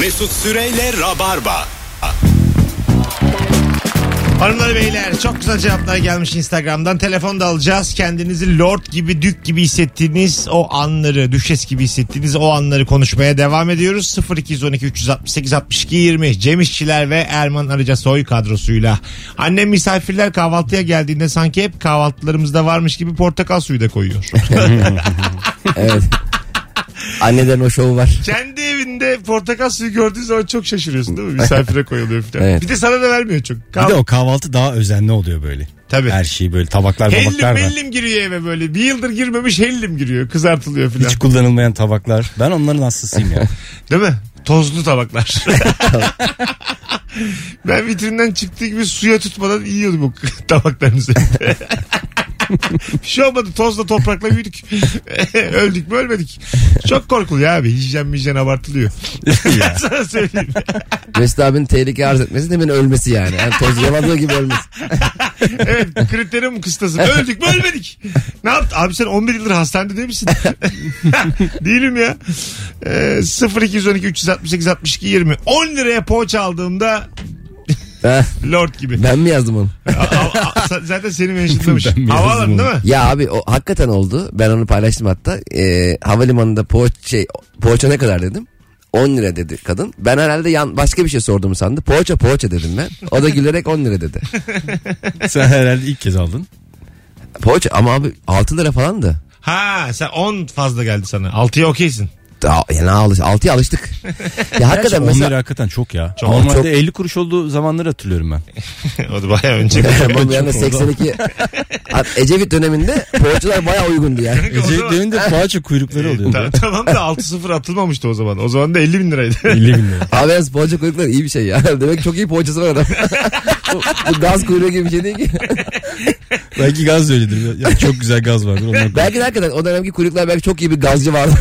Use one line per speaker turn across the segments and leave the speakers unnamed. Mesut Süreyle Rabarba.
Hanımlar beyler çok güzel cevaplar gelmiş Instagram'dan. Telefon da alacağız. Kendinizi lord gibi, dük gibi hissettiğiniz o anları, düşes gibi hissettiğiniz o anları konuşmaya devam ediyoruz. 0212 368 62 20 Cem İşçiler ve Erman Arıca Soy kadrosuyla. Annem misafirler kahvaltıya geldiğinde sanki hep kahvaltılarımızda varmış gibi portakal suyu da koyuyor.
Evet. Anneden o şov var.
Kendi evinde portakal suyu gördüğün zaman çok şaşırıyorsun değil mi? Misafire koyuluyor falan.
Evet.
Bir de sana da vermiyor çok.
Bir
Kahvaltı-
de o kahvaltı daha özenli oluyor böyle.
Tabii.
Her şeyi böyle tabaklar
Hellim
tabaklar var.
hellim giriyor eve böyle. Bir yıldır girmemiş hellim giriyor. Kızartılıyor filan.
Hiç kullanılmayan tabaklar. Ben onların hastasıyım ya.
Değil mi? Tozlu tabaklar. ben vitrinden çıktığı gibi suya tutmadan yiyordum o tabakların üzerinde. Bir şey olmadı. Tozla toprakla büyüdük. Öldük mü ölmedik. Çok korkuluyor abi. Hijyen hijyen abartılıyor.
Ya.
Sana söyleyeyim.
Mesut abinin tehlike arz etmesi demin ölmesi yani. yani toz yaladığı gibi ölmesi.
Evet kriterim kıstası. Öldük mü ölmedik. Ne yaptın? Abi sen 11 yıldır hastanede değil misin? Değilim ya. Ee, 0212 368 62 20. 10 liraya poğaça aldığımda
Ha,
lord gibi.
ben mi yazdım onu?
A- a- a- sa- zaten seni mentionlamış.
Ben biraz
Havalan değil mi?
Ya abi o hakikaten oldu. Ben onu paylaştım hatta. Ee, havalimanında poğaça, şey, poğaça ne kadar dedim. 10 lira dedi kadın. Ben herhalde yan, başka bir şey sordum sandı. Poğaça poğaça dedim ben. O da gülerek 10 lira dedi.
Sen herhalde ilk kez aldın.
Poğaça ama abi 6 lira falandı.
Ha sen 10 fazla geldi sana. 6'ya okeysin.
Daha- Yani alış, 6'ya alıştık. Ya hakikaten
Gerçi
mesela
onları hakikaten çok ya.
Çok.
Normalde
Çok.
50 kuruş olduğu zamanları hatırlıyorum ben.
o da bayağı önce.
Bunun yani 82 Ecevit döneminde poğaçalar bayağı uygundu yani.
O zaman-
Ecevitlerin de poğaça kuyrukları
Ta-
oluyor.
tamam da 6-0 atılmamıştı o zaman. O zaman da 50 bin liraydı.
50 bin lira.
Abi yalnız poğaça kuyrukları iyi bir şey ya. Demek çok iyi poğaçası var adam. bu, bu gaz kuyruğu gibi bir şey değil ki.
Belki gaz da öyledir. Ya çok güzel gaz vardır. Ondan koy.
belki de hakikaten o dönemki kuyruklar belki çok iyi bir gazcı vardı.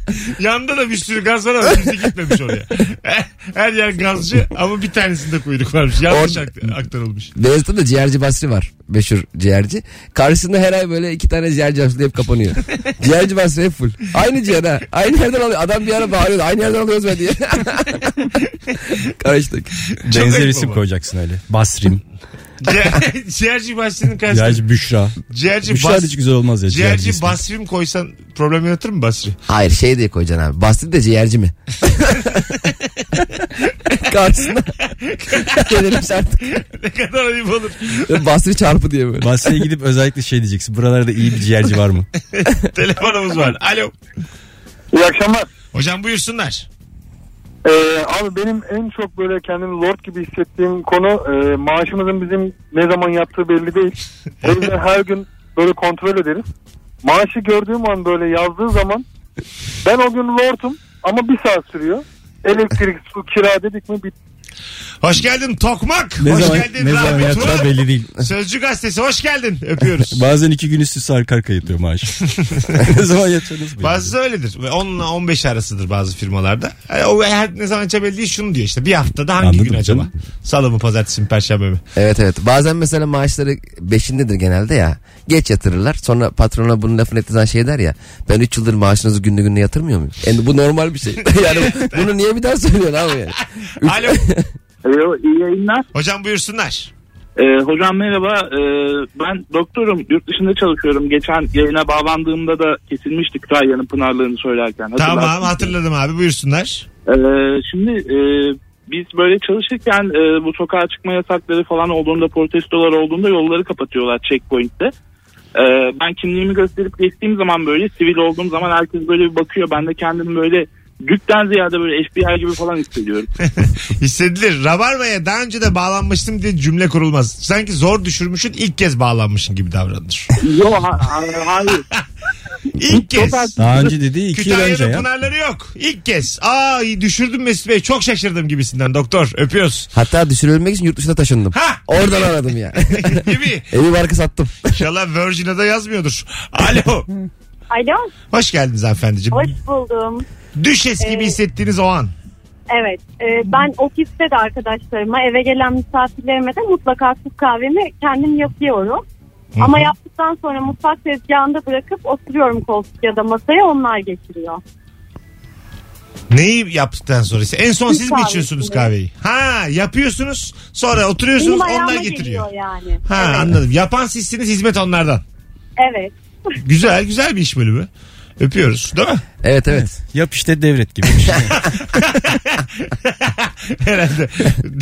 Yanda da bir sürü gaz var ama kimse gitmemiş oraya. Eh, Her yer gazcı ama bir tanesinde kuyruk varmış. Yanlış
Orada-
akt- aktarılmış.
Beyazıt'ta da ciğerci Basri var. Meşhur ciğerci. Karşısında her ay böyle iki tane ciğerci Basri hep kapanıyor. ciğerci Basri hep full. Aynı ciğer ha. Aynı yerden alıyor. Adam bir ara bağırıyordu. Aynı yerden alıyoruz be diye. Karıştık.
Benzer
ayıp
isim
ama.
koyacaksın öyle. Basrim.
Ciğer- Ciğerci Basri'nin karşısında.
Ciğerci Büşra.
Ciğerci,
Büşra da
Bas-
hiç güzel olmaz ya. ciğerci
Ciğerci
ismi.
Basri'm koysan problem yaratır mı Basri?
Hayır şey diye koyacaksın abi. Basri de ciğerci mi? Karşısında. Gelirmiş artık.
ne kadar ayıp olur.
Basri çarpı diye böyle.
Basri'ye gidip özellikle şey diyeceksin. Buralarda iyi bir ciğerci var mı?
Telefonumuz var. Alo.
İyi akşamlar.
Hocam buyursunlar.
Ee, abi benim en çok böyle kendimi lord gibi hissettiğim konu e, maaşımızın bizim ne zaman yattığı belli değil. O yüzden her gün böyle kontrol ederiz. Maaşı gördüğüm an böyle yazdığı zaman ben o gün lordum ama bir saat sürüyor. Elektrik, su, kira dedik mi bitti.
Hoş geldin Tokmak.
Ne
hoş
zaman,
geldin
ne zaman
Rahmi Turan.
yatacağı belli değil.
Sözcü gazetesi hoş geldin. Öpüyoruz.
Bazen iki gün üst üste arka arka yatıyor maaş. ne zaman yatacağınız belli değil.
Bazısı öyledir. Ve 10 ile 15 arasıdır bazı firmalarda. Yani o her ne zaman açabildiği değil şunu diyor işte. Bir haftada hangi
Anladım
gün acaba?
canım.
Salı mı pazartesi mi perşembe mi?
Evet evet. Bazen mesela maaşları beşindedir genelde ya. Geç yatırırlar. Sonra patrona bunun lafını ettiği zaman şey der ya. Ben 3 yıldır maaşınızı günlü günlü yatırmıyor muyum? Yani bu normal bir şey. yani bunu niye bir daha söylüyorsun abi yani?
Alo.
Alo, Ee, iyi yayınlar.
Hocam buyursunlar.
Ee, hocam merhaba. Ee, ben doktorum. Yurt dışında çalışıyorum. Geçen yayına bağlandığımda da kesilmiştik Rayya'nın Pınarlarını söylerken. Hatırlarsın.
Tamam hatırladım abi buyursunlar.
Ee, şimdi e, biz böyle çalışırken e, bu sokağa çıkma yasakları falan olduğunda protestolar olduğunda yolları kapatıyorlar checkpoint'te. Ee, ben kimliğimi gösterip geçtiğim zaman böyle sivil olduğum zaman herkes böyle bir bakıyor. Ben de kendimi böyle Dükten ziyade böyle FBI gibi falan hissediyorum.
Hissedilir. Rabarba'ya daha önce de bağlanmıştım diye cümle kurulmaz. Sanki zor düşürmüşün ilk kez bağlanmışın gibi davranır.
Yo ha- ha- hayır.
İlk kez.
Daha önce dediği iki yıl önce
Kütahya'da
ya.
pınarları yok. İlk kez. Aa düşürdüm Mesut Bey. Çok şaşırdım gibisinden doktor. Öpüyoruz.
Hatta düşürülmek için yurt dışına taşındım.
Ha!
Oradan aradım ya.
Gibi.
Evi barkı sattım.
İnşallah Virgin'e de yazmıyordur. Alo.
Alo,
Hoş geldiniz hanımefendiciğim.
hoş buldum.
Düşes gibi
Ee,
hissettiğiniz o an.
Evet, e, ben ofiste de arkadaşlarıma, eve gelen misafirlerime de mutlaka Türk kahvemi kendim yapıyorum. Ama yaptıktan sonra mutfak tezgahında bırakıp oturuyorum koltuk ya da masaya onlar getiriyor.
Neyi yaptıktan sonra ise? En son
Türk
siz mi içiyorsunuz kahveyi?
kahvesi.
Ha yapıyorsunuz sonra oturuyorsunuz
Benim
onlar
ayağıma
getiriyor.
geliyor yani.
Ha
evet.
anladım. Yapan sizsiniz hizmet onlardan.
evet.
Güzel güzel bir iş bölümü. Öpüyoruz değil mi?
Evet evet.
Yap işte devret gibi. bir şey.
Herhalde.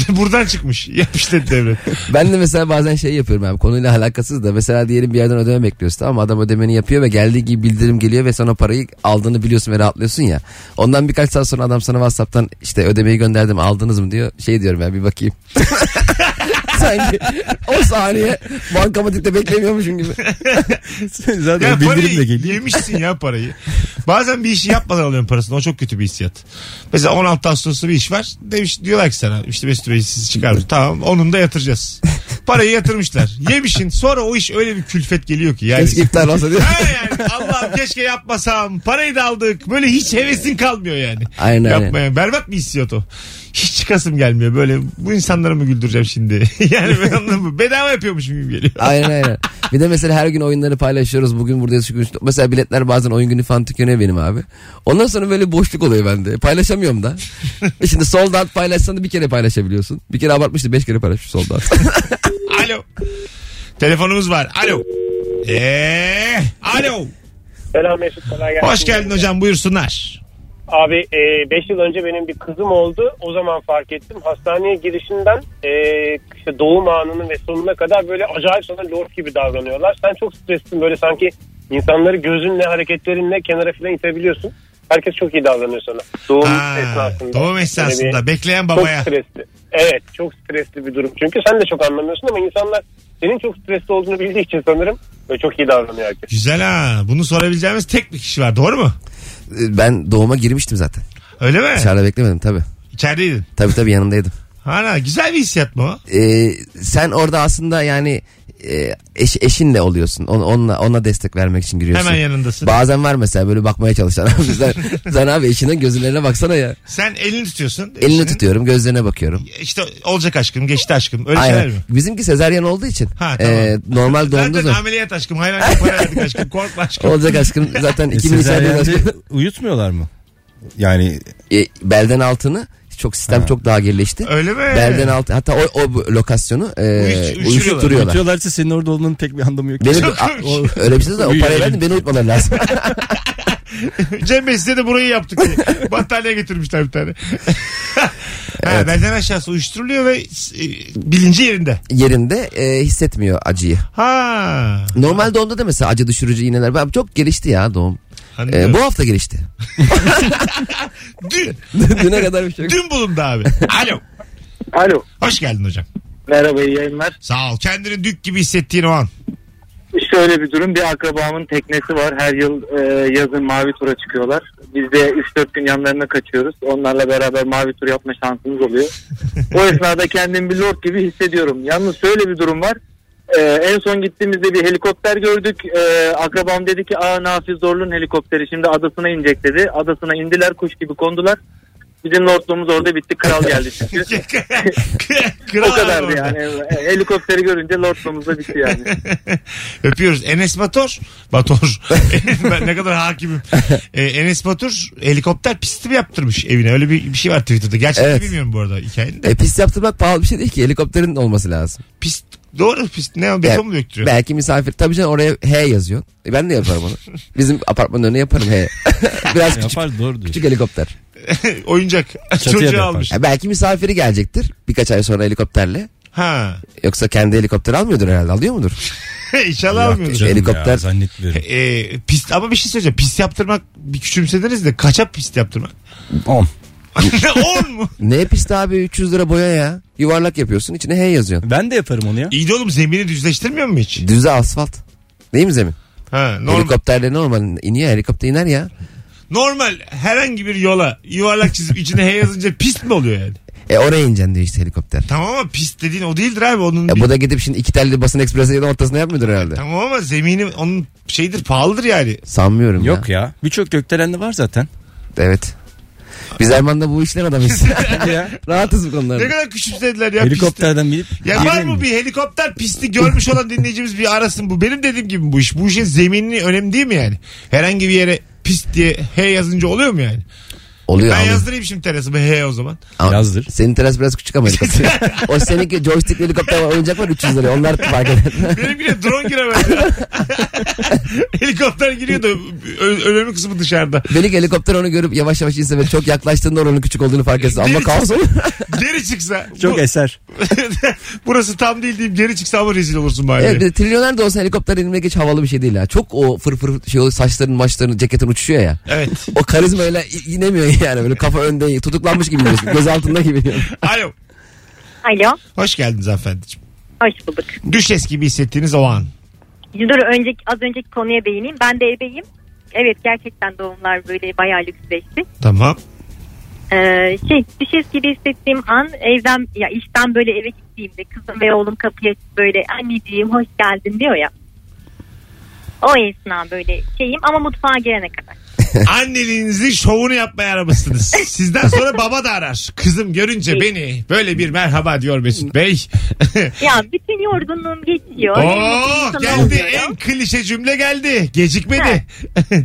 Buradan çıkmış. Yapıştı devlet.
Ben de mesela bazen şey yapıyorum abi konuyla alakasız da mesela diyelim bir yerden ödeme bekliyorsun tamam mı? adam ödemeni yapıyor ve geldiği gibi bildirim geliyor ve sonra parayı aldığını biliyorsun ve rahatlıyorsun ya. Ondan birkaç saat sonra adam sana Whatsapp'tan işte ödemeyi gönderdim aldınız mı diyor. Şey diyorum ben bir bakayım. Sanki o saniye bankamatikte beklemiyormuşum gibi.
Zaten
Ya
bildirim de
parayı
geliyor.
yemişsin ya parayı. Bazen bir işi yapmadan alıyorum parasını. O çok kötü bir hissiyat. Mesela 16 Ağustos'ta bir iş var. Demiş, diyorlar ki sana işte Mesut Bey sizi çıkardım. Tamam onun da yatıracağız. Parayı yatırmışlar. Yemişin sonra o iş öyle bir külfet geliyor ki. Yani.
Keşke iptal olsa diyor.
Ha yani Allah'ım keşke yapmasam. Parayı da aldık. Böyle hiç hevesin kalmıyor yani.
Aynen, aynen.
Yapmaya. Berbat bir hissiyat o. Hiç çıkasım gelmiyor. Böyle bu insanları mı güldüreceğim şimdi? yani ben anladın mı? Bedava yapıyormuşum gibi geliyor.
Aynen aynen. Bir de mesela her gün oyunları paylaşıyoruz. Bugün buradayız şu gün. şu- Mesela biletler bazen oyun günü falan tükeniyor benim abi. Ondan sonra böyle boşluk oluyor bende. Paylaşamıyorum da. E Şimdi sold out paylaşsan da bir kere paylaşabiliyorsun. Bir kere abartmıştı beş kere paylaşmış sold out.
Alo. Telefonumuz var. Alo. Eee, alo.
Selam Mesut kolay gelsin.
Hoş geldin hocam buyursunlar.
Abi 5 yıl önce benim bir kızım oldu. O zaman fark ettim. Hastaneye girişinden e, işte doğum anının ve sonuna kadar böyle acayip sana lord gibi davranıyorlar. Sen çok streslisin böyle sanki insanları gözünle hareketlerinle kenara filan itebiliyorsun. Herkes çok iyi davranıyor sana. Doğum
Aa,
esnasında.
doğum
Böyle
esnasında
bir-
bekleyen
Çok
babaya.
stresli. Evet çok stresli bir durum. Çünkü sen de çok anlamıyorsun ama insanlar senin çok stresli olduğunu bildiği için sanırım böyle çok iyi davranıyor herkes.
Güzel ha. Bunu sorabileceğimiz tek bir kişi var. Doğru mu?
E, ben doğuma girmiştim zaten.
Öyle mi?
Dışarıda beklemedim tabii.
İçerideydin.
Tabii tabii yanındaydım.
Ana güzel bir hissiyat mı o?
E, sen orada aslında yani e, eş- eşinle oluyorsun. On- onunla, ona destek vermek için giriyorsun.
Hemen yanındasın.
Bazen var mesela böyle bakmaya çalışan abi. Sen, sen abi eşinin gözlerine baksana ya.
Sen elini tutuyorsun.
Elini
Eşinin-
tutuyorum gözlerine bakıyorum.
İşte olacak aşkım, geçti aşkım. Öyle şeyler
Aynen.
mi?
Bizimki sezaryen olduğu için.
Ha, tamam.
e, normal doğumda
Zaten
zor.
ameliyat aşkım. Hayvan gibi para verdik aşkım. Korkma aşkım.
Olacak aşkım zaten
E,
2000 içeride
sezaryende
aşkım.
uyutmuyorlar mı? Yani
E, belden altını çok sistem çok daha gerileşti.
Öyle mi?
Belden altı hatta o, o bu lokasyonu e,
Uyuş-
uyuşturuyorlar.
uyutuyorlarsa senin orada olmanın pek bir anlamı yok.
Benim,
Çok
a-
komik.
o- öyle bir şey de o
Uyuyor
parayı
elim.
verdim beni uyutmaları lazım.
Cem Bey size de burayı yaptık diye. Battaniye getirmişler bir tane. ha, Belden aşağısı uyuşturuluyor ve e, bilinci yerinde.
Yerinde e, hissetmiyor acıyı.
Ha.
Normal doğumda da mesela acı düşürücü iğneler. Ben- Çok gelişti ya doğum. E,
Anlıyorum.
bu hafta gelişti.
Dün,
Düne kadar bir şey yok.
dün bulundu abi. Alo.
Alo.
Hoş geldin hocam.
Merhaba iyi yayınlar.
Sağ ol. Kendini dük gibi hissettiğin o an.
Şöyle bir durum bir akrabamın teknesi var. Her yıl e, yazın mavi tura çıkıyorlar. Biz de 3-4 gün yanlarına kaçıyoruz. Onlarla beraber mavi tur yapma şansımız oluyor. o esnada kendimi bir lord gibi hissediyorum. Yalnız şöyle bir durum var. E, en son gittiğimizde bir helikopter gördük. E, akrabam dedi ki aa Nafiz Zorlu'nun helikopteri şimdi adasına inecek dedi. Adasına indiler kuş gibi kondular. Bizim lordluğumuz orada bitti. Kral geldi çünkü.
Kral
o
abi
kadardı
orada.
yani. E, Helikopteri görünce lordluğumuz da bitti yani.
Öpüyoruz. Enes Batur. Batur. ben ne kadar hakimim. Ee, Enes Batur helikopter pisti mi yaptırmış evine? Öyle bir, bir şey var Twitter'da. Gerçekten
Evet.
bilmiyorum bu arada hikayenin de.
E, pist yaptırmak pahalı bir şey değil ki. Helikopterin olması lazım.
Pist doğru pist ne o, beton mu döktürüyor?
Belki misafir. Tabii canım oraya H yazıyorsun. E, ben de yaparım onu. Bizim apartmanın önüne yaparım H. Biraz küçük,
Yapar doğru diyor.
küçük helikopter.
Oyuncak
yapar.
çocuğu almış.
Ya belki misafiri gelecektir birkaç ay sonra helikopterle.
Ha.
Yoksa kendi helikopter almıyordur herhalde alıyor mudur?
İnşallah almıyordur.
canım. helikopter-
Ya, zannetmiyorum.
Ee, pist ama bir şey söyleyeceğim. Pist yaptırmak bir küçümsediniz de kaça pist yaptırmak?
10.
10 mu?
ne pist abi 300 lira boya ya. Yuvarlak yapıyorsun içine hey yazıyorsun.
Ben de yaparım onu ya.
İyi de oğlum zemini düzleştirmiyor mu hiç?
Düze asfalt. Değil mi zemin?
Ha, normal,
Helikopterle normal iniyor helikopter iner ya.
normal herhangi bir yola yuvarlak çizip içine he yazınca pist mi oluyor yani?
E oraya ineceksin diyor işte helikopter.
Tamam ama pist dediğin o değildir abi onun.
E
bir-
bu da gidip şimdi iki telli basın ekspresi ya da ortasına yapmıyordur herhalde.
E, Tamam ama zemini onun şeydir pahalıdır yani.
Sanmıyorum
Yok
ya.
ya. Birçok gökdelende var zaten.
Evet. Biz Erman'da bu işler adamıyız. Rahatız bu konularda.
Ne kadar küçümsediler ya pisti.
Helikopterden binip
Ya var
yerine
mı
in.
bir helikopter pisti görmüş olan dinleyicimiz bir arasın bu. Benim dediğim gibi bu iş. Bu işin zemini önemli değil mi yani? Herhangi bir yere pist diye he yazınca oluyor mu yani?
Oluyor
Ben
abi.
yazdırayım şimdi terası. He o zaman.
Ama
Yazdır.
Senin teras biraz küçük ama helikopter. o seninki joystick helikopter var, oyuncak var 300 liraya. Onlar fark eder.
Benimkine drone giremez ya. Helikopter giriyor da ö- önemli kısmı dışarıda.
Benim helikopter onu görüp yavaş yavaş inse ve çok yaklaştığında oranın küçük olduğunu fark etsin. Ama kaos olur.
Geri çıksa.
Çok
bu-
eser.
burası tam değil deyip geri çıksa ama rezil olursun bari.
Evet, bir de trilyoner de olsa helikopter inmeye geç havalı bir şey değil ya. Çok o fırfır şey oluyor saçların maçların ceketin uçuşuyor ya.
Evet.
O karizmayla i- inemiyor yani böyle kafa önde tutuklanmış gibi diyorsun. Göz altında gibi diyorsun.
Alo.
Alo.
Hoş geldiniz hanımefendiciğim.
Hoş bulduk.
Düşes gibi hissettiğiniz o an.
Dur önceki, az önceki konuya değineyim. Ben de ebeyim. Evet gerçekten doğumlar böyle bayağı lüksleşti.
Tamam.
Ee, şey düşes gibi hissettiğim an evden ya işten böyle eve gittiğimde kızım ve oğlum kapıya böyle anneciğim hoş geldin diyor ya. O esna böyle şeyim ama mutfağa gelene kadar.
Anneliğinizin şovunu yapmaya aramışsınız. Sizden sonra baba da arar. Kızım görünce beni böyle bir merhaba diyor Mesut Bey.
Ya bütün yorgunluğum geçiyor.
Oo
Sana
geldi
oluyorum.
en klişe cümle geldi. Gecikmedi.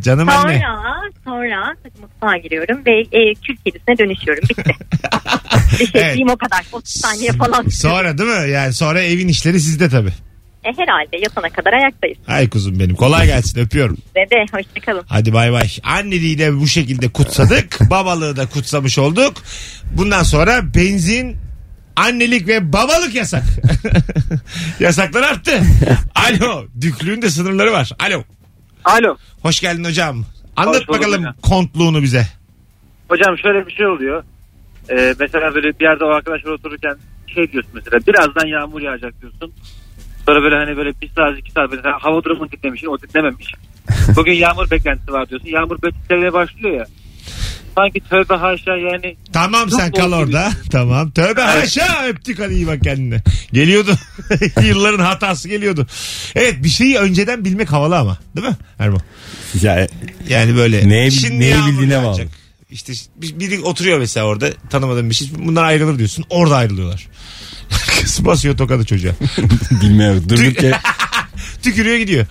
Canım anne.
Sonra sonra mutfağa giriyorum ve e, kül kedisine dönüşüyorum. Bitti. Düşeceğim o kadar. 30 şey saniye falan.
Sonra değil mi? Yani sonra evin işleri sizde tabii.
E, herhalde yatana kadar ayaktayız.
Ay kuzum benim. Kolay gelsin öpüyorum.
Ve de hoşçakalın.
Hadi bay bay. Anneliği de bu şekilde kutsadık. babalığı da kutsamış olduk. Bundan sonra benzin, annelik ve babalık yasak. Yasaklar arttı. Alo. Düklüğün de sınırları var. Alo.
Alo.
Hoş geldin hocam. Anlat
Hoş bulduk
bakalım
hocam.
kontluğunu bize.
Hocam şöyle bir şey oluyor. Ee, mesela böyle bir yerde o arkadaşlar otururken şey diyorsun mesela birazdan yağmur yağacak diyorsun. Sonra böyle hani böyle bir saat iki saat mesela hava durumunu dinlemişsin o dinlememiş. Bugün yağmur beklentisi var diyorsun. Yağmur beklentisine başlıyor ya. Sanki tövbe haşa yani
Tamam sen
Yok,
kal
oldu
orada. Tamam. Tövbe haşa öptük hadi iyi bak kendine. Geliyordu. Yılların hatası geliyordu. Evet bir şeyi önceden bilmek havalı ama. Değil mi Erman?
Ya e,
Yani böyle.
Neye- neyi
yağmur
bildiğine bağlı.
yağacak. İşte bir- biri oturuyor mesela orada tanımadığın bir şey. Bunlar ayrılır diyorsun. Orada ayrılıyorlar. Kız basıyor tokadı çocuğa.
bilmiyorum. Durduk ya.
Tükürüyor gidiyor.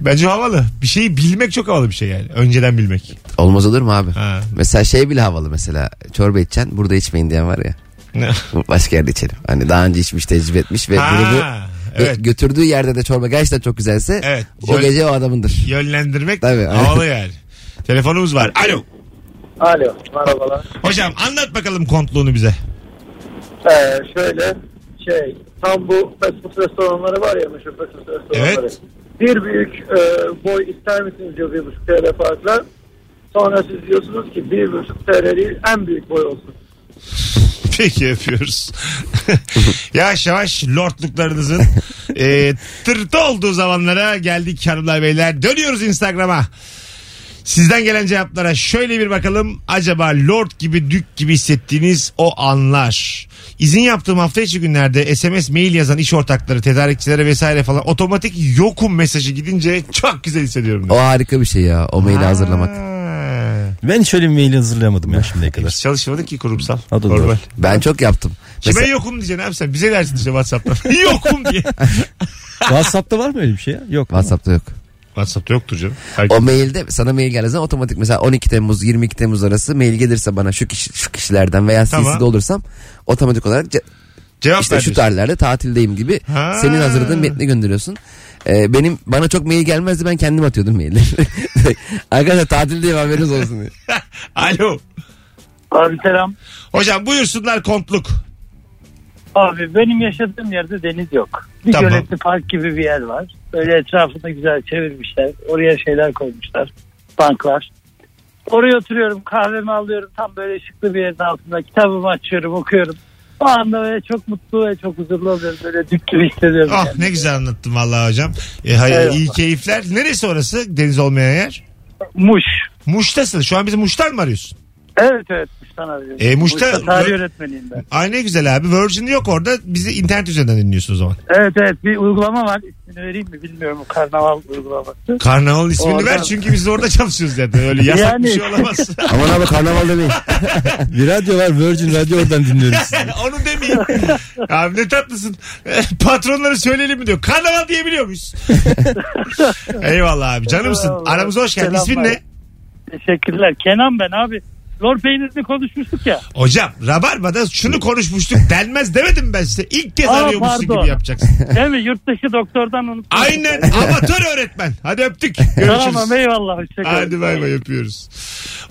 Bence havalı. Bir şeyi bilmek çok havalı bir şey yani. Önceden bilmek.
Olmaz olur mu abi?
Ha.
Mesela şey bile havalı mesela çorba içeceksin burada içmeyin diyen var ya.
Ne?
Başka yerde içelim. Hani daha önce içmiş tecrübe etmiş ve
Ha,
grubu ve
evet.
götürdüğü yerde de çorba gerçekten çok güzelse
Evet.
o gece o adamındır.
Yönlendirmek
Tabii.
havalı yani. Telefonumuz var. Alo.
Alo merhabalar.
Hocam anlat bakalım kontluğunu bize.
Ee, şöyle şey tam bu fast food restoranları var ya meşhur fast food restoranları.
Evet.
Bir büyük e, boy ister misiniz diyor bir buçuk TL farkla. Sonra siz diyorsunuz ki bir buçuk TL değil en büyük boy olsun.
Peki yapıyoruz. yavaş yavaş lordluklarınızın e, tırtı olduğu zamanlara geldik hanımlar beyler. Dönüyoruz Instagram'a. Sizden gelen cevaplara şöyle bir bakalım. Acaba lord gibi dük gibi hissettiğiniz o anlar. İzin yaptığım hafta içi günlerde SMS mail yazan iş ortakları, tedarikçilere vesaire falan otomatik yokum mesajı gidince çok güzel hissediyorum.
O
diyor.
harika bir şey ya o maili hazırlamak.
Ha.
Ben şöyle bir mail hazırlayamadım ya şimdiye kadar.
Biz çalışmadık ki kurumsal.
O da doğru.
Normal.
Ben çok yaptım.
Kime
Mesela-
yokum diyeceksin abi sen. Bize dersin işte Whatsapp'tan. yokum diye.
WhatsApp'ta var mı öyle bir şey ya? Yok.
WhatsApp'ta yok.
Whatsapp'ta yoktur canım.
O mailde sana mail geldiği zaman otomatik mesela 12 Temmuz 22 Temmuz arası mail gelirse bana şu kişi şu kişilerden veya
Tamam.
CC'de olursam otomatik olarak ce-
Cevap
işte
ver
şu
diyorsun.
tarihlerde tatildeyim gibi
Ha.
senin hazırladığın metni gönderiyorsun. Ee, benim bana çok mail gelmezdi ben kendim atıyordum mailleri. Arkadaşlar tatildeyim haberiniz olsun diye.
Alo.
Abi selam.
Hocam buyursunlar kontluk.
Abi benim yaşadığım yerde deniz yok.
Bir Tamam. göletli
park gibi bir yer var. Böyle etrafında güzel çevirmişler. Oraya şeyler koymuşlar. Banklar. Oraya oturuyorum kahvemi alıyorum. Tam böyle ışıklı bir yerin altında kitabımı açıyorum okuyorum. O anda böyle çok mutlu ve çok huzurlu oluyorum. Böyle dük gibi hissediyorum.
Ah
yani.
ne güzel anlattın vallahi hocam. E, hayır,
Eyvallah.
iyi keyifler. Neresi orası deniz olmayan yer?
Muş.
Muş'tasın. Şu an bizi Muş'tan mı arıyorsun?
Evet evet Muş'tan arıyorum.
E, Muş'ta-
tarih öğretmeniyim ben.
Ay ne güzel abi. Virgin yok orada. Bizi internet üzerinden dinliyorsun o zaman.
Evet evet bir uygulama var. İsmini vereyim mi bilmiyorum. Karnaval uygulaması.
Karnavalın ismini
Orada.
ver çünkü biz orada çalışıyoruz zaten. Öyle yasak bir
Yani.
şey olamaz.
Aman abi karnaval demeyin.
Bir radyo var Virgin Radyo oradan dinliyorum sizi.
Onu demeyin. Abi ne tatlısın. Patronları söyleyelim mi diyor. Karnaval diyebiliyor muyuz? Eyvallah abi. Canımsın.
Eyvallah.
Aramıza hoş geldin. İsmin
Selamlar.
ne?
Teşekkürler. Kenan ben abi.
lor peynirini konuşmuştuk ya.
Hocam Rabarba'da şunu konuşmuştuk denmez demedim ben size. İlk kez
Şey- Aa,
arıyormuşsun
pardon.
gibi yapacaksın.
Değil mi? Yurttaşı doktordan unuttum.
Aynen amatör öğretmen. Hadi öptük. Görüşürüz.
Tamam eyvallah. Hoşçakalın.
Hadi bay bay yapıyoruz.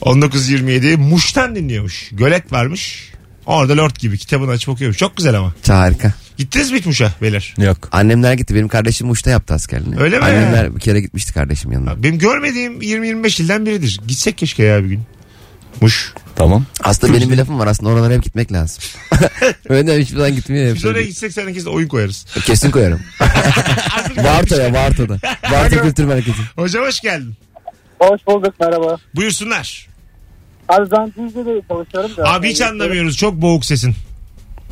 19.27 Muş'tan dinliyormuş. Gölet varmış. Orada Lord gibi kitabını açıp okuyormuş. Çok güzel ama.
Harika.
Gittiniz mi hiç Muş'a beyler?
Yok.
Annemler gitti. Benim kardeşim Muş'ta yaptı askerliğini.
Öyle mi?
Annemler bir kere gitmişti kardeşim yanına.
Benim görmediğim 20-25 yıldan biridir. Gitsek keşke ya bir gün. Muş.
Tamam.
Aslında benim bir lafım var. Aslında oralara hep gitmek lazım. Öyle hiçbir zaman gitmiyor. Hep
Biz oraya
şöyle.
gitsek sen de oyun koyarız.
Kesin koyarım. Varto'ya Varto'da. Varto Kültür Merkezi.
Hocam hoş geldin.
Hoş bulduk merhaba.
Buyursunlar.
Abi ben Düzce'de çalışıyorum da.
Abi hiç anlamıyoruz. Çok boğuk sesin.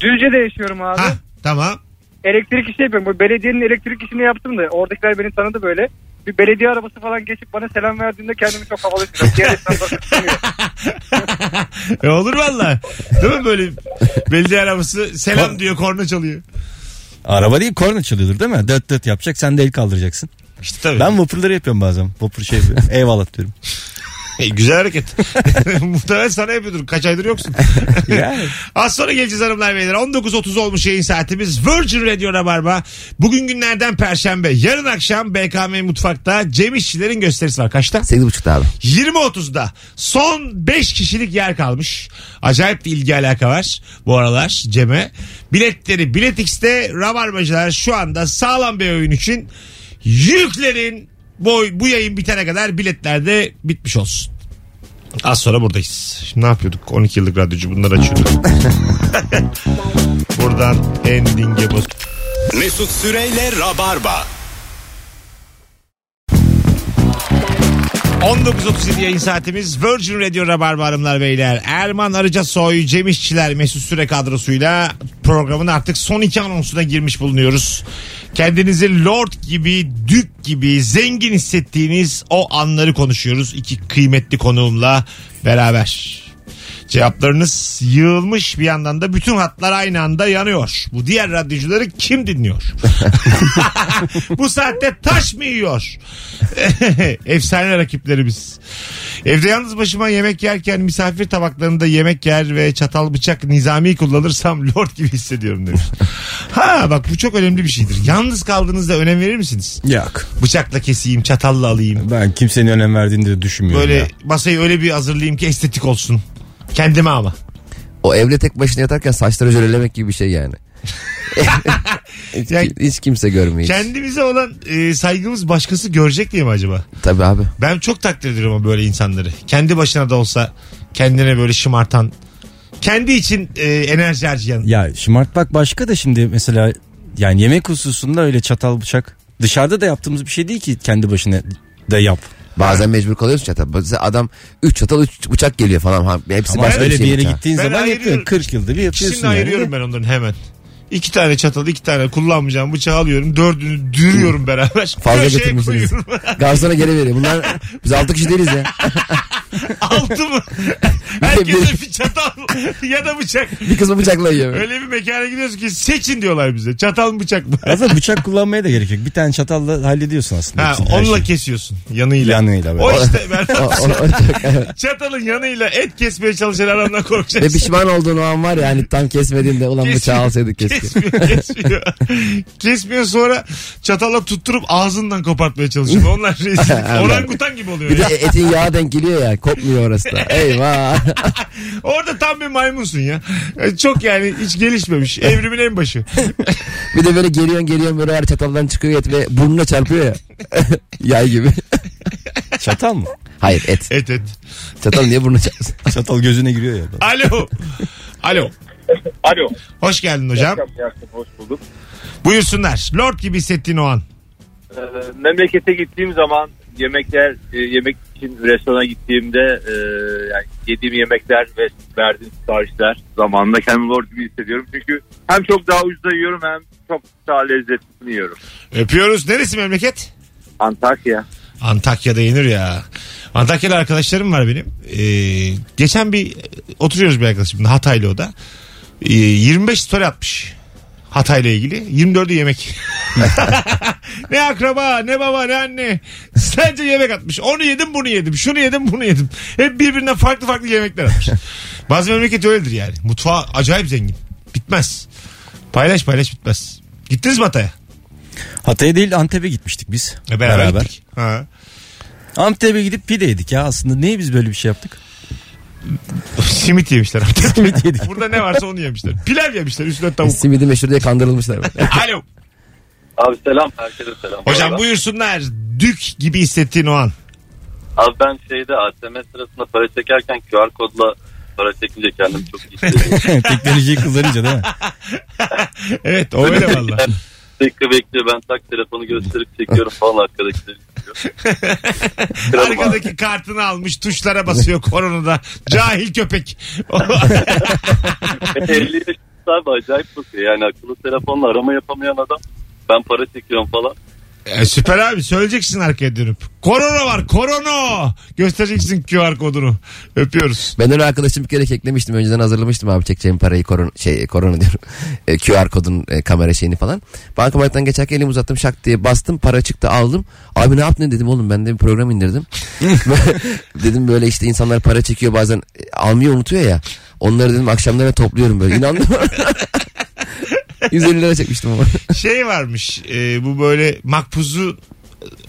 Düzce'de yaşıyorum abi.
Hah tamam.
Elektrik işi yapıyorum. Bu belediyenin elektrik işini yaptım da oradakiler beni tanıdı böyle. Bir belediye arabası falan geçip bana selam verdiğinde kendimi çok havalı hissediyorum. Diğer esnaflar kıskanıyor.
E olur valla. Değil mi böyle belediye arabası selam diyor korna çalıyor.
Araba değil korna çalıyordur değil mi? Döt döt yapacak sen de el kaldıracaksın.
İşte tabii.
Ben vapurları yapıyorum bazen. Vapur şey yapıyorum. Eyvallah diyorum.
E, güzel hareket. Muhtemelen sana yapıyordur. Kaç aydır yoksun.
Yani.
Az sonra geleceğiz hanımlar beyler. 19.30 olmuş yayın saatimiz. Virgin Radio Rabarba. Bugün günlerden Perşembe. Yarın akşam BKM Mutfak'ta Cem İşçilerin gösterisi var. Kaçta?
8.30'da abi.
20.30'da son 5 kişilik yer kalmış. Acayip de ilgi alaka var bu aralar Cem'e. Biletleri Biletix'te Rabarbacılar şu anda sağlam bir oyun için yüklerin bu, oy- bu yayın bitene kadar biletler de bitmiş olsun. Az sonra buradayız. Şimdi ne yapıyorduk? 12 yıllık radyocu bunları açıyorduk. Buradan ending'e bas.
Mesut Süreyle Rabarba.
19.37 yayın saatimiz Virgin Radio Rabarba Hanımlar Beyler. Erman Arıca Soy, Cem İşçiler, Mesut Süre kadrosuyla programın artık son iki anonsuna girmiş bulunuyoruz. Kendinizi lord gibi, dük gibi, zengin hissettiğiniz o anları konuşuyoruz. iki kıymetli konuğumla beraber. Cevaplarınız yığılmış bir yandan da bütün hatlar aynı anda yanıyor. Bu diğer radyocuları kim dinliyor? Bu saatte taş mı yiyor? Efsane rakiplerimiz. Evde yalnız başıma yemek yerken misafir tabaklarında yemek yer ve çatal bıçak nizami kullanırsam lord gibi hissediyorum demiş. ha bak bu çok önemli bir şeydir. Yalnız kaldığınızda önem verir misiniz?
Yok.
Bıçakla keseyim, çatalla alayım.
Ben kimsenin önem verdiğini de düşünmüyorum.
Böyle
ya.
masayı öyle bir hazırlayayım ki estetik olsun. Kendime ama.
O evde tek başına yatarken saçları jölelemek gibi bir şey yani. hiç,
Yani-
hiç kimse görmüyor. hiç.
Kendimize olan e, saygımız başkası görecek diye mi acaba?
Tabii abi.
Ben çok takdir ediyorum ama böyle insanları. Kendi başına da olsa kendine böyle şımartan, kendi için e, enerji harcayan.
Ya şımartmak başka da şimdi mesela yani yemek hususunda öyle çatal bıçak dışarıda da yaptığımız bir şey değil ki kendi başına da yap.
Bazen mecbur kalıyorsun çatal. Bazen adam 3 çatal 3 bıçak geliyor falan. Ha, Hepsi
Ama
başka şey
öyle bir
şeymiş
yere
ha.
gittiğin
Ben
zaman
ayırıyorum.
yapıyorsun. 40 yılda bir yapıyorsun.
Şimdi
yani.
ayırıyorum ben onların hemen. İki tane çatal, iki tane kullanmayacağım bıçağı alıyorum. Dördünü dürüyorum beraber.
Fazla
Köşeye
getirmişsiniz.
koyuyorum.
Garsona geri veriyor. Bunlar biz 6 kişi değiliz ya.
Altı mı? Herkese bir çatal ya da bıçak.
Bir kısmı bıçakla yiyor.
Öyle bir mekana gidiyoruz ki seçin diyorlar bize. Çatal mı bıçak mı?
Aslında bıçak kullanmaya da gerek yok. Bir tane çatalla hallediyorsun aslında.
Ha,
hepsini, her şey.
onunla
şeyi.
kesiyorsun yanıyla.
Yanıyla böyle.
O işte ben
O- o- o çok- evet.
çatalın yanıyla et kesmeye çalışan adamdan
Ve
korkacaksın.
pişman olduğun o an var ya hani tam kesmediğinde ulan bıçağı
Kesmiyor.
alsaydık keşke.
Kesmiyor, kesmiyor. kesmiyor sonra çatalla tutturup ağzından kopartmaya çalışıyor. Onlar rezil. Orangutan gibi oluyor.
Bir de
Ya.
etin yağı denk geliyor ya kopmuyor orası da. Eyvah.
Orada tam bir maymunsun ya. E, Çok yani hiç gelişmemiş. Evrimin en başı.
Bir de böyle geliyorsun geliyorsun böyle her çataldan çıkıyor et ve burnuna çarpıyor ya. Yay gibi.
Çatal mı?
Hayır et.
Evet evet.
Çatal niye burnuna çarpsın?
Çatal gözüne giriyor ya.
Alo. Alo.
Alo.
Hoş geldin hocam.
Hoş bulduk.
Buyursunlar. Lord gibi hissettiğin o an.
Ee, memlekete gittiğim zaman yemekler e, yemek için restorana gittiğimde e, yani yediğim yemekler ve verdiğim siparişler zamanında kendimi lord gibi hissediyorum. Çünkü hem çok daha ucuza yiyorum hem çok daha lezzetli yiyorum.
Öpüyoruz. Neresi memleket?
Antakya.
Antakya'da yenir ya. Antakya'da arkadaşlarım var benim. Ee, geçen bir oturuyoruz bir arkadaşımla Hataylı o da. Ee, 25 story atmış. Hatay'la ilgili. 24'ü yemek. ne akraba ne baba ne anne. Sence yemek atmış. Onu yedim bunu yedim. Şunu yedim bunu yedim. Hep birbirinden farklı farklı yemekler atmış. Bazı memleket öyledir yani. Mutfağı acayip zengin. Bitmez. Paylaş paylaş bitmez. Gittiniz mi Hatay'a?
Hatay'a değil Antep'e gitmiştik biz.
E, beraber, gittik. Ha.
Antep'e gidip pide yedik ya aslında. Niye biz böyle bir şey yaptık?
Simit yemişler.
Simit yedik.
Burada ne varsa onu yemişler. Pilav yemişler üstüne tavuk.
Simidi meşhur diye kandırılmışlar. böyle.
Alo.
Abi selam herkese selam.
Hocam buyursunlar. Dük gibi hissettiğin o an.
Abi ben şeyde ATM sırasında para çekerken QR kodla para çekince kendim çok iyi hissediyorum.
Teknolojiyi kullanınca değil mi?
Evet o öyle valla.
Ben bir dakika bekliyor ben tak telefonu gösterip çekiyorum falan arkadakileri çekiyor. Kralım abi.
Arkadaki kartını almış tuşlara basıyor koronada. Cahil köpek.
Ve 50 yaşında abi acayip bakıyor yani akıllı telefonla arama yapamayan adam ben para çekiyorum falan.
E, süper abi söyleyeceksin arkaya dönüp. Korona var korona. Göstereceksin QR kodunu. Öpüyoruz.
Ben öyle arkadaşım bir kere keklemiştim. Önceden hazırlamıştım abi çekeceğim parayı korona, şey, korona diyorum. E, QR kodun e, kamera şeyini falan. Bankamarktan geçerken elimi uzattım şak diye bastım. Para çıktı aldım. Abi ne yaptın dedim oğlum ben de bir program indirdim. dedim böyle işte insanlar para çekiyor bazen e, almayı unutuyor ya. Onları dedim akşamlara topluyorum böyle. İnandım. 150 lira çekmiştim ama.
Şey varmış e, bu böyle makbuzu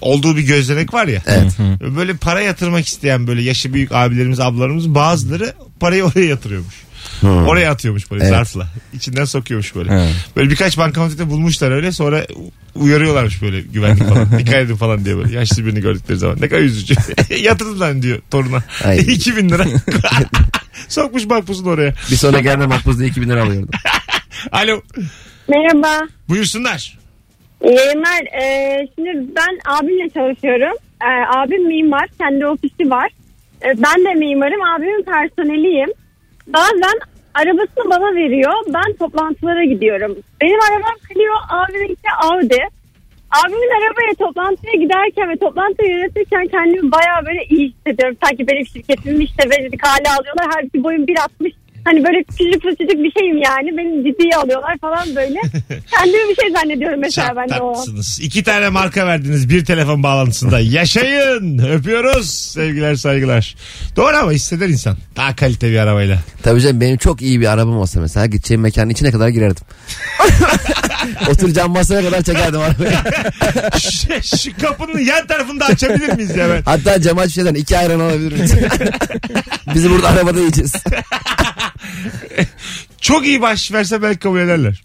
olduğu bir gözlenek var ya.
Evet.
Böyle para yatırmak isteyen böyle yaşı büyük abilerimiz ablalarımız bazıları parayı oraya yatırıyormuş. Oraya atıyormuş parayı
Evet.
zarfla. İçinden sokuyormuş böyle.
Evet.
Böyle birkaç bankamatikte bulmuşlar öyle sonra u- uyarıyorlarmış böyle güvenlik falan. Dikkat edin falan diye böyle yaşlı birini gördükleri zaman. Ne kadar üzücü. Yatırın lan diyor toruna.
Ay.
2000 lira. Sokmuş makbuzunu oraya.
bir sonra gelme makbuzda 2000 lira alıyordum.
Alo
Merhaba.
buyursunlar.
İyi yayınlar. Ee, şimdi ben abimle çalışıyorum. Ee, abim mimar. Kendi ofisi var. Ee, ben de mimarım. Abimin personeliyim. Bazen arabasını bana veriyor. Ben toplantılara gidiyorum. Benim arabam Clio, abiminki Audi. Abimin arabaya toplantıya giderken ve toplantıyı yönetirken kendimi bayağı böyle iyi hissediyorum. Sanki benim şirketimin işte verilik hale alıyorlar. Halbuki boyum 1.60. Hani böyle küçücük küçücük bir şeyim yani. Beni ciddiye alıyorlar falan böyle. Kendimi bir şey zannediyorum mesela
Çok
ben de o. an.
tatlısınız. İki tane marka verdiniz bir telefon bağlantısında. Yaşayın. Öpüyoruz. Sevgiler saygılar. Doğru ama hisseder insan. Daha kalite bir arabayla.
Tabii canım benim çok iyi bir arabam olsa mesela gideceğim mekanın içine kadar girerdim. Oturacağım masaya kadar çekerdim arabayı.
şu, şu kapının yan tarafını da açabilir miyiz ya ben?
Hatta cam aç şeyden iki ayran alabiliriz. Bizi burada arabada yiyeceğiz.
Çok iyi baş verse belki kabul ederler.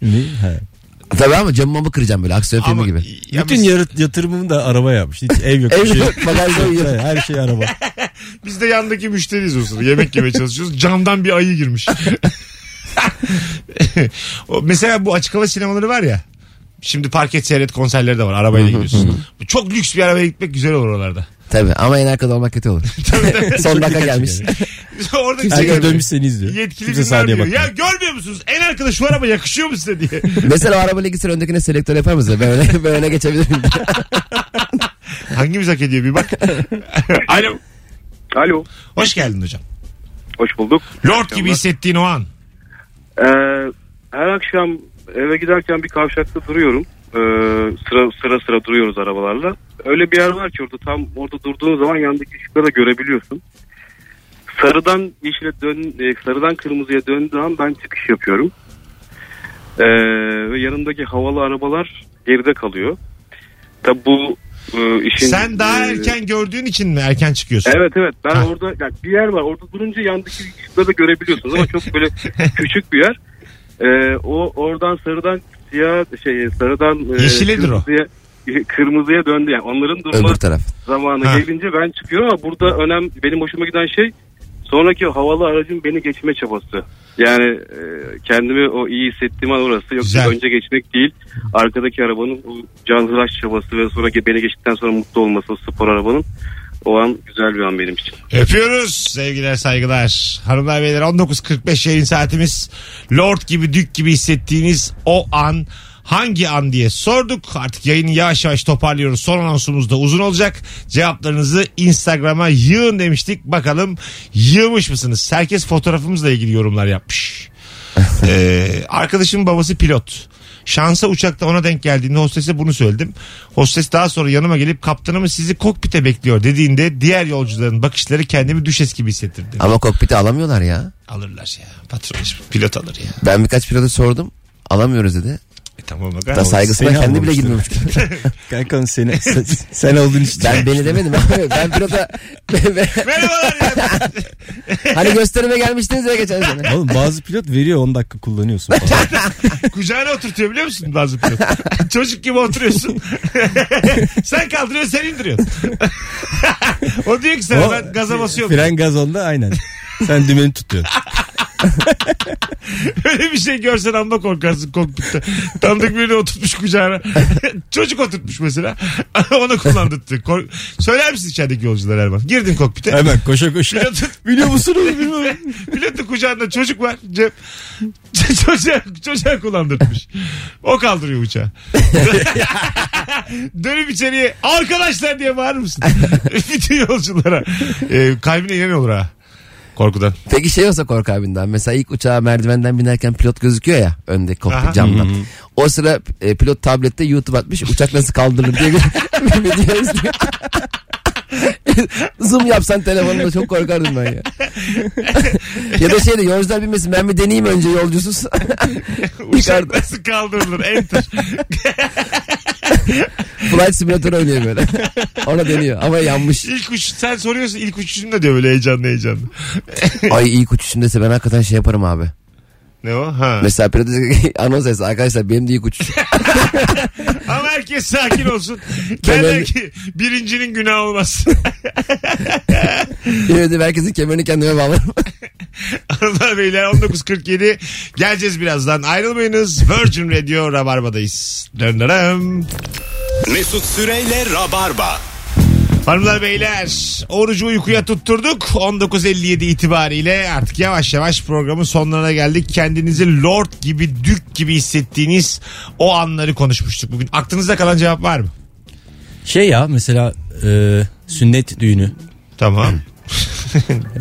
Tabii ama camımı kıracağım böyle aksiyon filmi gibi.
ya
Bütün
biz-
yarı- yatırımımı da araba yapmış. Hiç ev yok.
Ev
bir şey
yok, bagajda uyuyor.
Her şey araba.
Biz de yandaki müşteriyiz o sırada. Yemek yemeye çalışıyoruz. Camdan bir ayı girmiş. O- Mesela bu açık hava sinemaları var ya. Şimdi parket seyret konserleri de var. Arabayla gidiyorsun. Bu Çok lüks bir arabaya gitmek güzel olur oralarda.
Tabii ama en arkada olmak kötü olur. Son dakika gelmiş.
Orada
Herkes dönmüş seni izliyor.
Yetkili
Kimse
günler
sahneye
diyor.
bakmıyor.
Ya görmüyor musunuz? En arkada şu araba yakışıyor mu size diye.
Mesela o arabayla gitsen öndekine selektör yapar mısın? Ben öne, ben öne geçebilirim.
Hangimiz hak ediyor bir bak. Alo.
Alo.
Hoş geldin hocam.
Hoş bulduk.
Lord gibi hissettiğin o an.
Ee, her akşam eve giderken bir kavşakta duruyorum. Ee, sıra sıra sıra duruyoruz arabalarla. Öyle bir yer var ki orada tam orada durduğun zaman yandaki ışıkları da görebiliyorsun. Sarıdan yeşile dön, e, sarıdan kırmızıya döndüğü an ben çıkış yapıyorum. Ee, ve yanımdaki havalı arabalar geride kalıyor. Tabi bu e, işin...
Sen daha
e,
erken gördüğün için mi erken çıkıyorsun?
Evet evet ben
Ha.
orada yani bir yer var orada durunca yandaki ışıkları da görebiliyorsunuz ama çok böyle küçük bir yer. Ee, o oradan sarıdan siyah şey sarıdan e,
Yeşilidir o.
kırmızıya, kırmızıya döndü yani onların durma
Öbür taraf.
zamanı
Ha.
gelince ben çıkıyorum ama burada önem benim hoşuma giden şey sonraki havalı aracın beni geçme çabası. Yani e, kendimi o iyi hissettiğim an orası yoksa
Güzel.
önce geçmek değil arkadaki arabanın o canhıraş çabası ve sonra beni geçtikten sonra mutlu olması o spor arabanın o an güzel bir an benim için.
Öpüyoruz. Sevgiler saygılar. Hanımlar beyler 19.45 yayın saatimiz. Lord gibi dük gibi hissettiğiniz o an hangi an diye sorduk. Artık yayını yavaş yavaş toparlıyoruz. Son anonsumuz da uzun olacak. Cevaplarınızı Instagram'a yığın demiştik. Bakalım yığmış mısınız? Herkes fotoğrafımızla ilgili yorumlar yapmış. Ee, arkadaşımın babası pilot. Şansa uçakta ona denk geldiğinde hostese bunu söyledim. Hostes daha sonra yanıma gelip kaptanımız sizi kokpite bekliyor dediğinde diğer yolcuların bakışları kendimi düşes gibi hissettirdi.
Ama kokpiti alamıyorlar ya.
Alırlar şey ya. Patron işte, pilot alır ya.
Ben birkaç pilota sordum. Alamıyoruz dedi.
E tamam aga.
Da saygısına
seni
kendi bile
almamıştır.
girmemiş.
Kankam seni sen, sen oldun işte.
ben beni demedim. ben pilota
Merhabalar ya.
hani gösterime gelmiştiniz ya geçen sene.
Oğlum bazı pilot veriyor 10 dakika kullanıyorsun falan.
Kucağına oturtuyor biliyor musun bazı pilot? Çocuk gibi oturuyorsun. sen kaldırıyorsun sen indiriyorsun. o diyor ki sana
O-
ben gaza basıyorum.
Fren gaz onda aynen. Sen dümeni tutuyorsun.
Öyle bir şey görsen amma korkarsın kokpitte. Tanıdık birini oturtmuş kucağına. Çocuk oturtmuş mesela. Ona kullandırttı. Kork... Söyler misin içerideki yolculara Erman? Girdin kokpite.
Hemen koşa koşa.
Pilotun,
Biliyor musun onu bilmiyorum.
pilotun kucağında çocuk var. Cep. çocuğa, çocuğa kullandırtmış. O kaldırıyor uçağı. Dönüp içeriye arkadaşlar diye bağırır mısın? Bütün yolculara. Ee, kalbine inen olur ha. Korkudan.
Peki şey olsa Kork abinden. Mesela ilk uçağa merdivenden binerken pilot gözüküyor ya. Öndeki
Aha.
kokpit camdan. O sıra e, pilot tablette YouTube atmış. Uçak nasıl kaldırılır diye bir video izliyor. Zoom yapsan telefonunda çok korkardım ben ya. ya da şey de yolcular binmesin ben bir deneyeyim önce yolcusuz.
Uçak
Yukarıda.
nasıl kaldırılır? Enter.
Flight simülatörü oynuyor böyle. Ona deniyor ama yanmış.
İlk uç, sen soruyorsun ilk uçuşum da diyor böyle heyecanlı heyecanlı.
Ay ilk uçuşumdaysa ben hakikaten şey yaparım abi.
Ne o? Ha.
Mesela pilot anons etse arkadaşlar benim de ilk uçuşum.
Ama herkes sakin olsun.
Kemer-
Derler ki birincinin günahı olmaz.
Yine de herkesin kemerini kendime bağlarım.
Hanımlar beyler 19.47 geleceğiz birazdan. Ayrılmayınız. Virgin Radio Rabarba'dayız. Dön dönem.
Mesut Süreyle Rabarba.
Hanımlar beyler orucu uykuya tutturduk. 19.57 itibariyle artık yavaş yavaş programın sonlarına geldik. Kendinizi lord gibi dük gibi hissettiğiniz o anları konuşmuştuk bugün. Aklınızda kalan cevap var mı?
Şey ya mesela e, sünnet düğünü.
Tamam.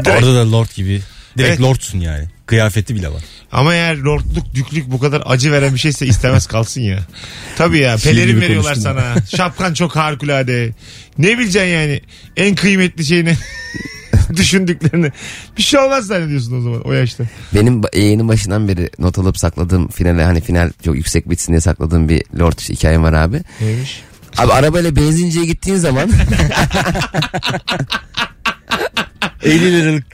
Orada da lord gibi. Direkt
Evet.
lordsun yani. Kıyafeti bile var.
Ama eğer lordluk, düklük bu kadar acı veren bir şeyse istemez kalsın ya. Tabii ya
Şiir
pelerin
gibi
veriyorlar
konuştun.
sana. Şapkan çok harikulade. Ne bileceksin yani en kıymetli şeyini düşündüklerini. Bir şey olmaz zannediyorsun o zaman o yaşta.
Benim ba- yayının başından beri not alıp sakladığım finale hani final çok yüksek bitsin diye sakladığım bir lord hikayem var abi.
Neymiş?
Abi arabayla benzinciye gittiğin zaman
50 liralık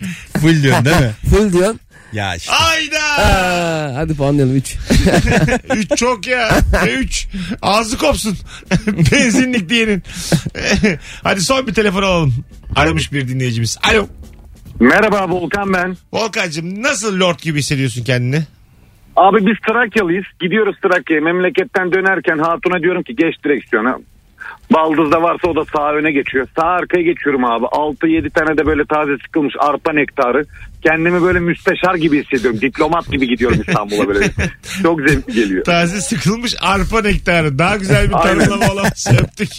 full diyorsun değil mi?
full diyorsun.
Ya işte.
Ayda!
Aa, hadi puanlayalım 3.
Üç çok ya. E, Üç. Ağzı kopsun. Benzinlik diyenin. Hadi son bir telefon alalım. Aramış bir dinleyicimiz. Alo.
Merhaba Volkan ben.
Volkan'cığım nasıl lord gibi hissediyorsun kendini?
Abi biz Trakyalıyız. Gidiyoruz Trakya'ya. Memleketten dönerken hatuna diyorum ki geç direksiyona. Baldızda varsa o da sağ öne geçiyor. Sağ arkaya geçiyorum abi. 6-7 tane de böyle taze sıkılmış arpa nektarı. Kendimi böyle müsteşar gibi hissediyorum. Diplomat gibi gidiyorum İstanbul'a böyle. Çok zevkli geliyor.
Taze sıkılmış arpa nektarı. Daha güzel bir tanımlama olamaz. Öptük.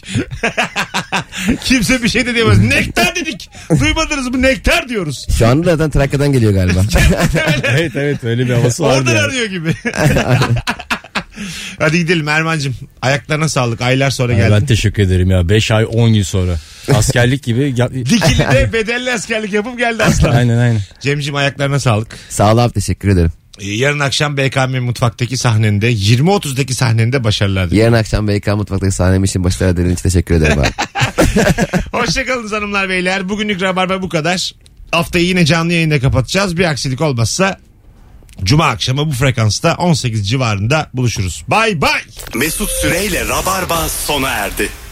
Kimse bir şey de diyemez. Nektar dedik. Duymadınız mı? Nektar diyoruz.
Şu anda zaten Trakya'dan geliyor galiba.
evet evet öyle bir havası vardı
Oradan
yani.
arıyor gibi. Hadi gidelim Erman'cığım. Ayaklarına sağlık. Aylar sonra
Ay, Ben
geldin.
teşekkür ederim ya. 5 ay 10 gün sonra. Askerlik gibi. ya-
Dikili'de bedelli askerlik yapıp geldi aslan.
aynen aynen.
Cem'cim ayaklarına sağlık.
Sağ ol abi teşekkür ederim.
Ee, Yarın akşam BKM mutfaktaki sahnende 20.30'daki sahnende başarılar dilerim.
Yarın akşam BK Mutfak'taki sahnem için başarılar dilediğin için teşekkür ederim abi.
Hoşçakalın hanımlar beyler. Bugünlük Rabarba bu kadar. Haftayı yine canlı yayında kapatacağız. Bir aksilik olmazsa Cuma akşamı bu frekansta 18 civarında buluşuruz. Bay bay.
Mesut Süreyle Rabarba sona erdi.